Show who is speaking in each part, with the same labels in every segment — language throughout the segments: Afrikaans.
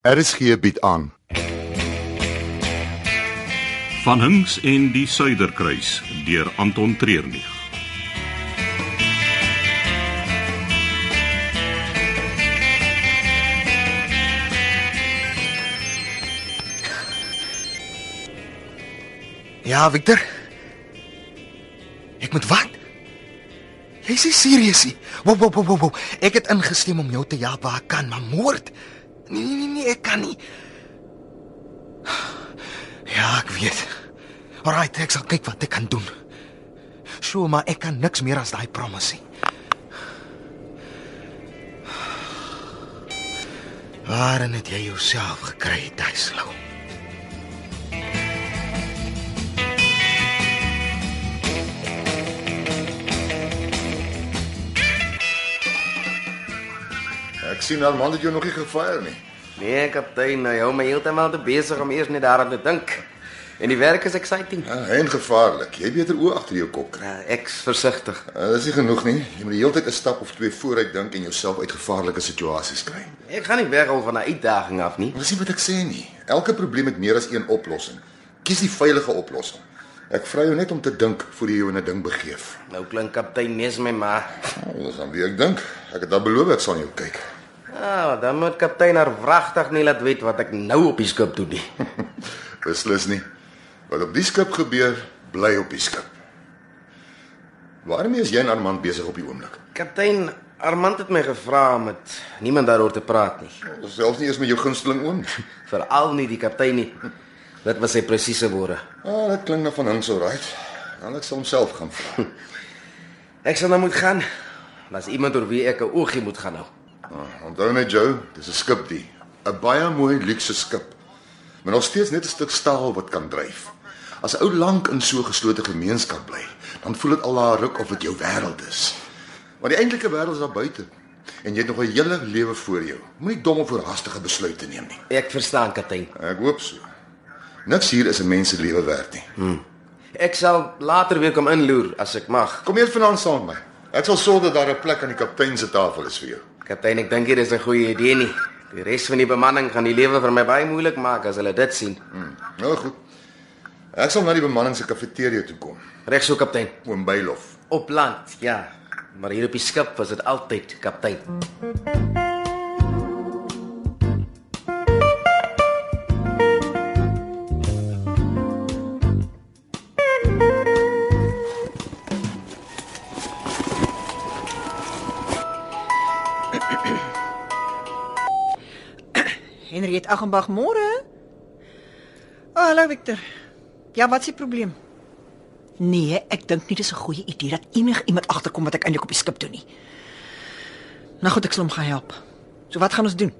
Speaker 1: RSG bied aan.
Speaker 2: Van Hinks en die Suiderkruis deur Anton Treurnig.
Speaker 3: Ja, Victor. Ek moet wat? Jy's nie serieus nie. Wow, wow, wow, wow, wow. Ek het ingestem om jou te help waar ek kan, maar moord? Nee, nee, nee, nee, ek kan nie. Ja, ek weet. Alraight, ek sal kyk wat ek kan doen. Sjoe, maar ek kan niks meer as daai promise nie. Waarin het jy jouself gekry, Duislou?
Speaker 1: Ek sien Armand het jou nog nie gevier nie.
Speaker 4: Nee, kaptein, nou hou my heeltemal te besig om eers net daaraan te dink. En die werk is exciting.
Speaker 1: Ja, en gevaarlik. Jy beter oë agter jou kop kry.
Speaker 4: Uh, ek's versigtig.
Speaker 1: Uh, dis nie genoeg nie. Jy moet die hele tyd 'n stap of twee vooruit dink en jouself uit gevaarlike situasies kry.
Speaker 4: Ek gaan nie weghol van 'n uitdaging af nie.
Speaker 1: Dis nie wat ek sê nie. Elke probleem het meer as een oplossing. Kies die veilige oplossing. Ek vra jou net om te dink voor jy jou in 'n ding begeef.
Speaker 4: Nou klink kaptein nes my ma.
Speaker 1: Nou, dis dan wie ek dink. Ek het dan beloof ek sal jou kyk.
Speaker 4: Ah, dan moet kaptein haar wragtig nie laat weet wat ek nou op die skip doen nie.
Speaker 1: Beslis nie. Wat op die skip gebeur, bly op die skip. Waarmee is jy en Armand besig op die oomblik?
Speaker 4: Kaptein Armand het my gevra om met niemand daaroor te praat nie.
Speaker 1: Selfs nie eers met jou gunsteling oom.
Speaker 4: Veral nie die kaptein nie. Dit was sy presiese woorde.
Speaker 1: Ah, dit klink nou van hom so right. Dan ek sal homself gaan vra.
Speaker 4: Ek sal nou moet gaan. Daar's iemand oor wie ek 'n oogie moet gaan hou.
Speaker 1: Ah, Onthou net Joe, dis 'n skip die. 'n Baie mooi luukse skip. Maar nog steeds net 'n stuk staal wat kan dryf. As 'n ou lank in so 'n geslote gemeenskap bly, dan voel dit al daar ruk of dit jou wêreld is. Want die eintlike wêreld is daar buite en jy het nog 'n hele lewe voor jou. Moenie dom of verhastige besluite neem nie.
Speaker 4: Ek verstaan kaptein.
Speaker 1: Ek hoop so. Niks hier is 'n mens se lewe werd nie.
Speaker 4: Ek sal later weer kom inloer as ek mag.
Speaker 1: Kom eers vanaand saam met my. Ek sal sorg dat daar 'n plek aan die kaptein se tafel is vir jou.
Speaker 4: Kaptein, ek dink hier is 'n goeie idee nie. Die res van die bemanning gaan die lewe vir my baie moeilik maak as hulle dit sien.
Speaker 1: Hmm. Nou goed. Ek sal na die bemanning se kafeteria toe kom.
Speaker 4: Reg so, kaptein.
Speaker 1: Oom Bylof.
Speaker 4: Op land, ja. Maar hier op die skip was dit altyd kaptein.
Speaker 5: Henriet Aggenbach môre. O,
Speaker 6: Ah,
Speaker 5: oh, hallo Victor. Ja, wat is die probleem?
Speaker 6: Nee, ek dink nie dis 'n goeie idee dat enigiemand agterkom wat ek eintlik op die skip doen nie.
Speaker 5: Nou goed, ek sal hom gaan help. So wat gaan ons doen?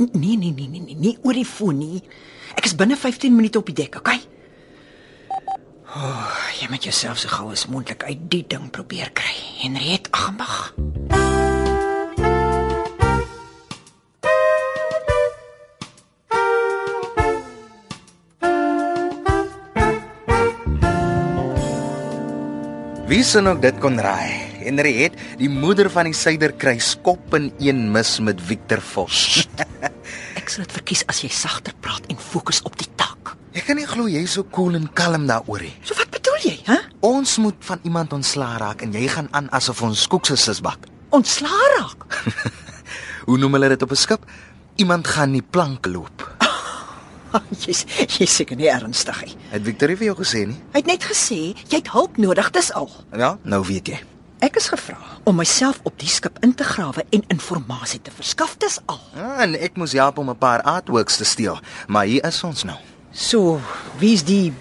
Speaker 6: N- Nee, nee, nee, nee, nee, nie oor die foon nie. Ek is binne 15 minute op die dek, okay? O, oh, jy moet jouself so gou as moontlik uit die ding probeer kry. Henriet Agmag.
Speaker 4: Wie sou ook dit kon raai? Henriet, die moeder van die Suiderkruis, kop in een mis met Victor Vos.
Speaker 6: Ek sal dit verkies as jy sagter praat en fokus op die taak.
Speaker 4: ek kan nie glo jy's so koel cool en kalm daaroor nie.
Speaker 6: So wat bedoel jy, hè?
Speaker 3: Ons moet van iemand ontslaa raak en jy gaan aan asof ons koek se sisbak.
Speaker 6: Ontslaa raak.
Speaker 3: Hoe noem hulle dit op 'n skip? Iemand gaan die plank loop.
Speaker 6: Jy's jy's seker nie ernstig nie.
Speaker 3: Het Victorie vir jou gesê nie?
Speaker 6: Hy het net gesê jy het hulp nodig, dis al.
Speaker 3: Ja, nou weet jy.
Speaker 6: Ek is gevra om myself op die skip in te grawe en inligting te verskaf, dis al.
Speaker 3: Ah, en ek moes help om 'n paar artworks te steel, maar hier is ons nou.
Speaker 6: So, wie's die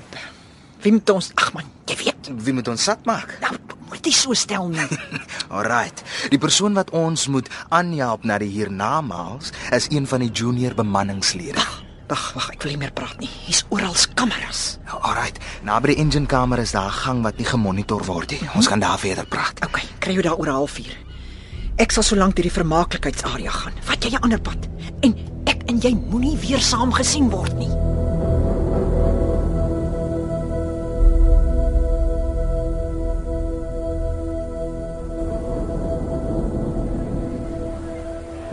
Speaker 6: wie moet ons ag man, jy weet.
Speaker 3: Wie moet ons sat maak?
Speaker 6: Nou moet jy so stel nie.
Speaker 3: Alraight. Die persoon wat ons moet aanhelp na die hiernamaals is een van die junior bemanningslede.
Speaker 6: Wag, wag, ek wil nie meer praat nie. Hier's oral kameras.
Speaker 3: Alraight. Naby die enjinkamer is daar 'n gang wat nie gemonitor word nie. Ons gaan daar verder praat.
Speaker 6: OK, kry jou daar oor 0.5. Ek sal so lank deur die vermaaklikheidsarea gaan. Vat jy 'n ander pad. En ek en jy moenie weer saam gesien word nie.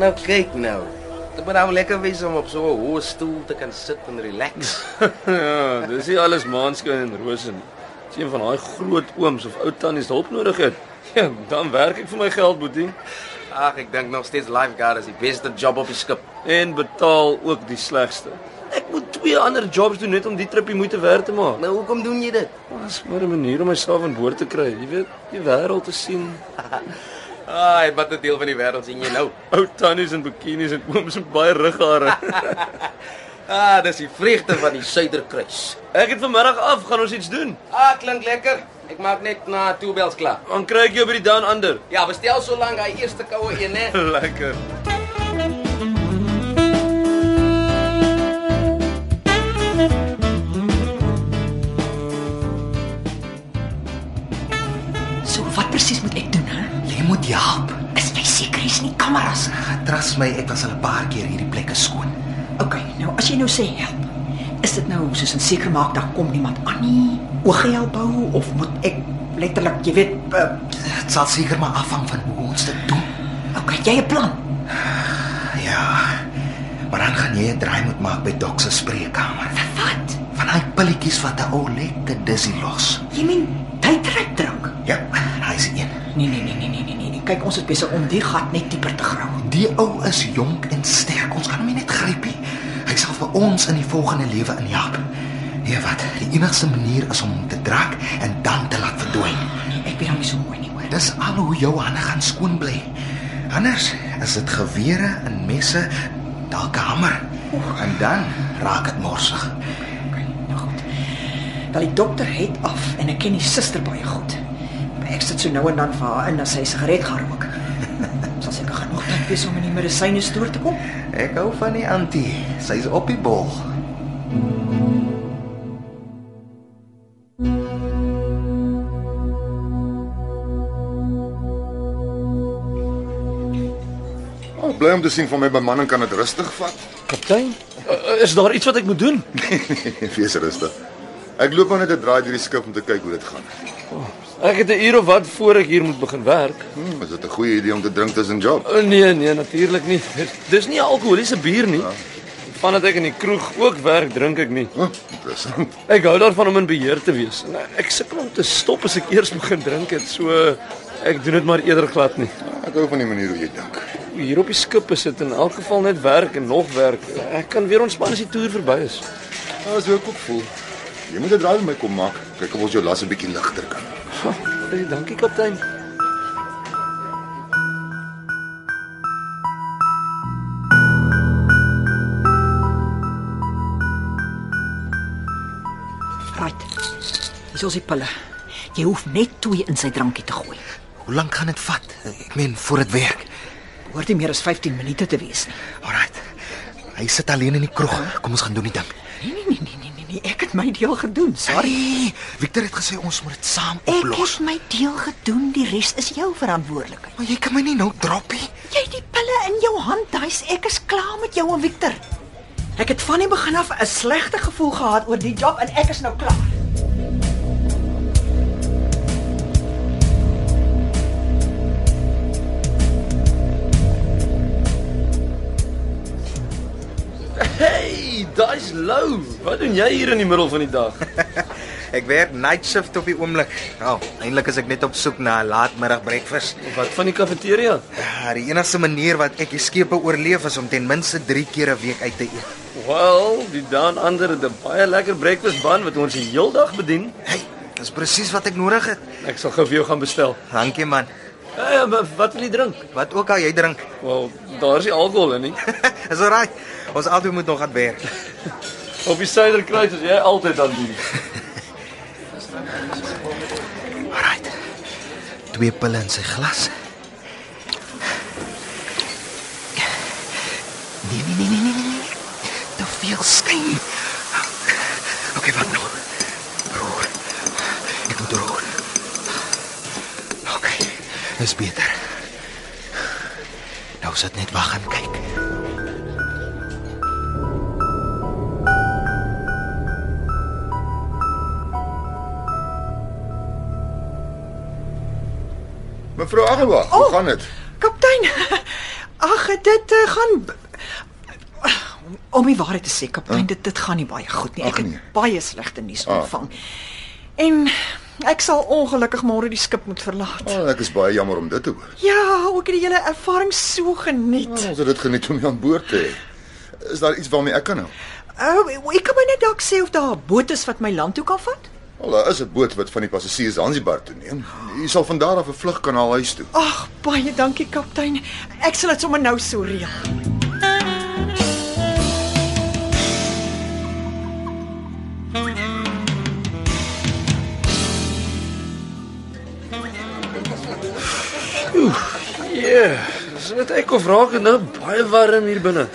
Speaker 4: Nou kyk nou. Dit moet nou lekker wees om op so 'n hoë stoel te kan sit en relax.
Speaker 7: ja, dis nie alles maanskyn en rose nie. As een van daai groot ooms of ou tannies hulp nodig het, ja, dan werk ek vir my geld, boetie.
Speaker 4: Ag, ek dink nog steeds lifeguard is die beste job op die skip.
Speaker 7: En betaal ook die slegste. Ek moet twee ander jobs doen net om die tripie moeite werd te maak.
Speaker 4: Nou hoekom doen jy dit?
Speaker 7: Dis maar 'n manier om myself aan boord te kry, jy weet, die wêreld te sien.
Speaker 4: Ai, Ah, wat 'n deel van die wêreld sien jy nou?
Speaker 7: Ou tannies in bikinis en ooms met baie rughare.
Speaker 4: Ah, dis die vreugde van die Suiderkruis.
Speaker 7: Ek het vanmiddag af, gaan ons iets doen.
Speaker 4: Ah, klink lekker. Ek maak net na Two Bells klaar.
Speaker 7: Dan kry ek jou by die Down Under.
Speaker 4: Ja, bestel so lank hy eerste koue een, né?
Speaker 7: Lekker.
Speaker 6: So wat presies moet ek doen, hè?
Speaker 3: Jy moet jou help.
Speaker 6: Is jy seker hier's nie kameras nie?
Speaker 3: Trust my, ek was al 'n paar keer hierdie plekke skoon.
Speaker 6: OK, nou as jy nou sê help, is dit nou soos 'n seker maak dat kom niemand aan nie? Oog help hou of moet ek letterlik, jy weet, uh,
Speaker 3: Dit sal seker maar afhang van hoe ons dit doen.
Speaker 6: OK, jy 'n plan.
Speaker 3: Ja. Maar dan gaan jy 'n draai moet maak by Doc se spreekkamer.
Speaker 6: Wat?
Speaker 3: Van daai pilletjies wat 'n ou lekker dizzy los.
Speaker 6: Jy meen tydryk drink?
Speaker 3: Ja, hy is een.
Speaker 6: Nee, nee, nee, nee, nee, nee, nee, nee. Kyk, ons is besig om die gat net dieper te grawe.
Speaker 3: Die ou is jonk en sterk. Ons kan hom nie net gryp nie. Hy sal vir ons in die volgende lewe inhelp. Nee, wat? Die enigste manier is om hom te drak en dan te laat verdwyn.
Speaker 6: Nee, Ek weet hom nie so mooi nie, hoor.
Speaker 3: Dis al hoe jou hande gaan skoon bly. Anders is dit gewere en messe, dalk 'n hamer. En dan raak dit morsig.
Speaker 6: Okay, nou goed. Wel die dokter het af en ek ken die suster baie goed. Ek sit so nou en dan vir haar in as sy 'n sigaret gaan rook. Sal seker genoeg tyd wees om in die medisyne stoor te kom.
Speaker 3: Ek hou van die antie. Sy's op die bol.
Speaker 1: Maar bly om te sien van my bemanning kan dit rustig vat.
Speaker 7: Kaptein, Eh, is daar iets wat ek moet doen?
Speaker 1: Wees rustig. Ek loop maar net 'n draai deur die skip om te kyk hoe dit gaan.
Speaker 7: Ek het 'n uur of wat voor ek hier moet begin werk.
Speaker 1: Hmm, is dit 'n goeie idee om te drink tussen job?
Speaker 7: O, Nee, nee, natuurlik nie. Dis nie 'n alkoholiese bier nie. Vandat ek in die kroeg ook werk, drink ek nie.
Speaker 1: Hm, interessant.
Speaker 7: Ek hou daarvan om in beheer te wees. En eh, ek sukkel om te stop as ek eers begin drink het, so eh, ek doen dit maar eerder glad nie.
Speaker 1: Ja, Ek hou van die manier hoe jy dink.
Speaker 7: Hier op die skip is dit in elk geval net werk en nog werk. Ek kan weer ontspan as die toer verby is.
Speaker 1: Dis hoe ek Ja, ook voel. Jy moet 'n draai met my kom maak. Kyk of ons jou las 'n bietjie ligter kan.
Speaker 7: Ha, Baie dankie kaptein.
Speaker 6: Right. Dis ons die pille. Jy hoef net twee in sy drankie te gooi.
Speaker 3: Hoe lank gaan dit vat? Ek meen voor dit werk.
Speaker 6: Hoort nie meer as 15 minute te wees nie.
Speaker 3: Alraight. Hy sit alleen in die kroeg. Kom ons gaan doen die ding.
Speaker 6: Nee, nee, nee, nee, nee, nee. Ek het my deel gedoen, sorry.
Speaker 3: Sorry. Victor het gesê ons moet dit saam
Speaker 6: Ek
Speaker 3: oplos.
Speaker 6: het my deel gedoen, die res is jou verantwoordelikheid.
Speaker 3: Maar jy kan my nie nou drop nie.
Speaker 6: Jy het die pille in jou hand, hy's ek is klaar met jou en Victor. Ek het van die begin af 'n slegte gevoel gehad oor die job en ek is nou klaar.
Speaker 7: Hey, daai's Lou. Wat doen jy hier in die middel van die dag?
Speaker 3: Ek werk night shift op die oomblik. Nou, eintlik is ek net op soek na 'n laatmiddag breakfast.
Speaker 7: Wat van die kafeteria?
Speaker 3: Ja, die enigste manier wat ek die skepe oorleef is om ten minste 3 keer 'n week uit te eet.
Speaker 7: Wel, die dan ander het 'n baie lekker breakfast bun wat ons die heel dag bedien.
Speaker 3: Hey, dis presies wat ek nodig het.
Speaker 7: Ek sal gou vir jou gaan bestel.
Speaker 3: Dankie man.
Speaker 7: Hey, maar wat wil jy drink?
Speaker 3: Wat ook al jy drink.
Speaker 7: Wel, daar's nie alkohol in nie.
Speaker 3: Is alraai. Ons albei moet nog aan werk.
Speaker 7: Op die suiderkruis is jy altyd aan doen.
Speaker 3: Alraai. Twee pille in sy glas. Nee, nee, nee, nee, nee, nee, nee. Te veel skyn. Okay, wag nou. Roer. Ek moet roer. Okay. Dis beter. Nou sit net wag en kyk.
Speaker 1: Mevrou Agelwag, hoe gaan dit?
Speaker 8: Kaptein. Ag, dit eh, gaan
Speaker 6: Om die waarheid te sê, kaptein, dit dit gaan nie baie goed nie.
Speaker 1: Ag,
Speaker 6: Ek
Speaker 1: nee.
Speaker 6: het baie slegte nuus
Speaker 1: Ah.
Speaker 6: ontvang. En ek sal ongelukkig môre die skip moet verlaat.
Speaker 1: Oh, ek is baie jammer om dit te hoor.
Speaker 6: Ja, ook die hele ervaring so
Speaker 1: Oh,
Speaker 6: geniet.
Speaker 1: ons het dit geniet om jou aan boord te hê. Is daar iets waarmee ek kan help?
Speaker 6: Ou, Eh, ek kan my net dalk sê of daar 'n boot is wat my land toe kan vat?
Speaker 1: Wel, daar is 'n boot wat van die passasiers Zanzibar toe neem. Jy sal van daar af 'n vlug kan haal huis toe.
Speaker 6: Ag, baie dankie kaptein. Ek sal dit sommer nou so reël.
Speaker 7: Ja, dis net ek of raak dit nou baie warm hier binne.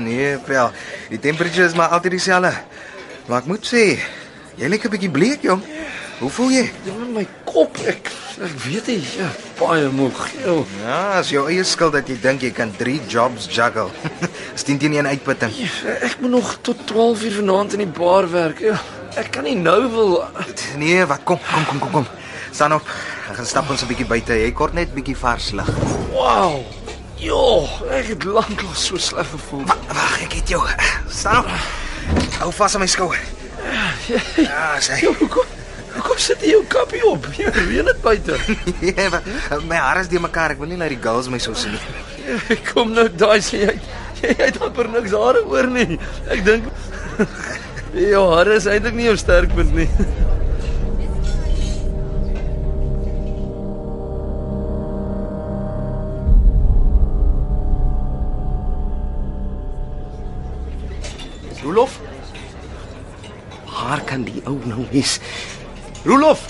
Speaker 3: Nee, Pel. Die temperatuur is maar altyd dieselfde. Maar ek moet sê, jy lyk 'n bietjie bleek, jong. Hoe voel jy?
Speaker 7: Dit met my kop, ek ek weet nie, ja, baie moeg. Eeuw.
Speaker 3: Ja, as jou eie skuld dat jy dink jy kan 3 jobs juggle. Dis 10 teen 1 uitputting.
Speaker 7: Ja, Ek moet nog tot 12 uur vanaand in die bar werk. Eeuw, Ek kan nie nou wil
Speaker 3: Nee, wat kom, kom, kom, kom, kom. Staan op. Ek gaan stap ons 'n bietjie buite. Jy kort net bietjie vars lug.
Speaker 7: Wow. Jo, ek het lanklaas so sleg gevoel.
Speaker 3: Wag, ek het jou. Staan op. Hou vas aan my skouer. Ja, sê.
Speaker 7: Jo, hoekom? Hoekom sit jy jou kappie op? Jy reën dit buite.
Speaker 3: Nee, wa- my hare is die mekaar. Ek wil nie laat die girls my so sien nie.
Speaker 7: Ek kom nou daai sê jy jy het amper niks hare oor nie. Ek dink jou hare is eintlik nie jou sterkpunt nie.
Speaker 9: Rolof? Waar kan die ou nou wees? Rolof.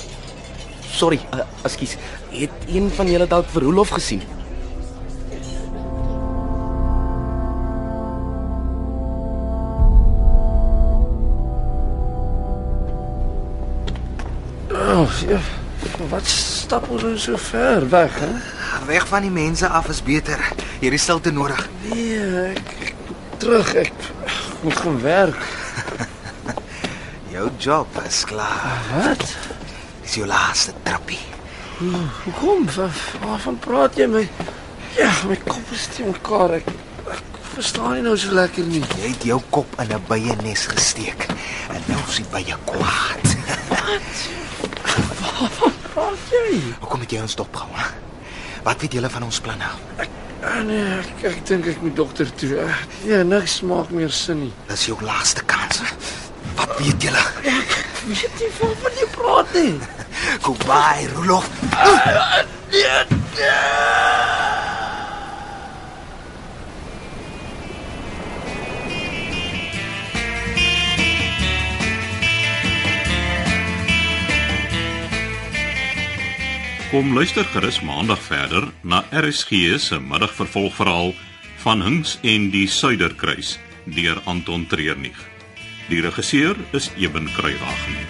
Speaker 9: Sorry, uh, ekskuus. Het een van julle dalk vir Rolof gesien?
Speaker 7: Oh, jef, wat stap ons nou so ver weg, hè?
Speaker 3: Weg van die mense af is beter. Hier is stilte nodig.
Speaker 7: Nee, ek, ek moet terug. Ek, ek moet gaan werk.
Speaker 3: Jou job is klaar.
Speaker 7: Wat?
Speaker 3: Dis jou laaste trappie.
Speaker 7: Hoekom? Wa- Waarvan praat jy my? Ja, my kop is te mekaar. Ek, ek verstaan nie nou so lekker nie.
Speaker 3: Jy het jou kop in 'n byenes gesteek en nou is die bye kwaad.
Speaker 7: Praat jy?
Speaker 3: Hoekom het jy ons dopgehou? hè? Wat weet julle van ons planne?
Speaker 7: Ah, nee, ek, ek dink ek moet dokter toe. Ah, Nee, niks maak meer sin nie.
Speaker 3: Dis jou laaste kans. Wat weet julle?
Speaker 7: Weet jy van wat jy praat nie?
Speaker 3: Goodbye, Rolof.
Speaker 2: Kom luister gerus maandag verder na RSG se middagvervolgverhaal van Hinks en die Suiderkruis deur Anton Treurnig. Die regisseur is Eben Kruiwagen.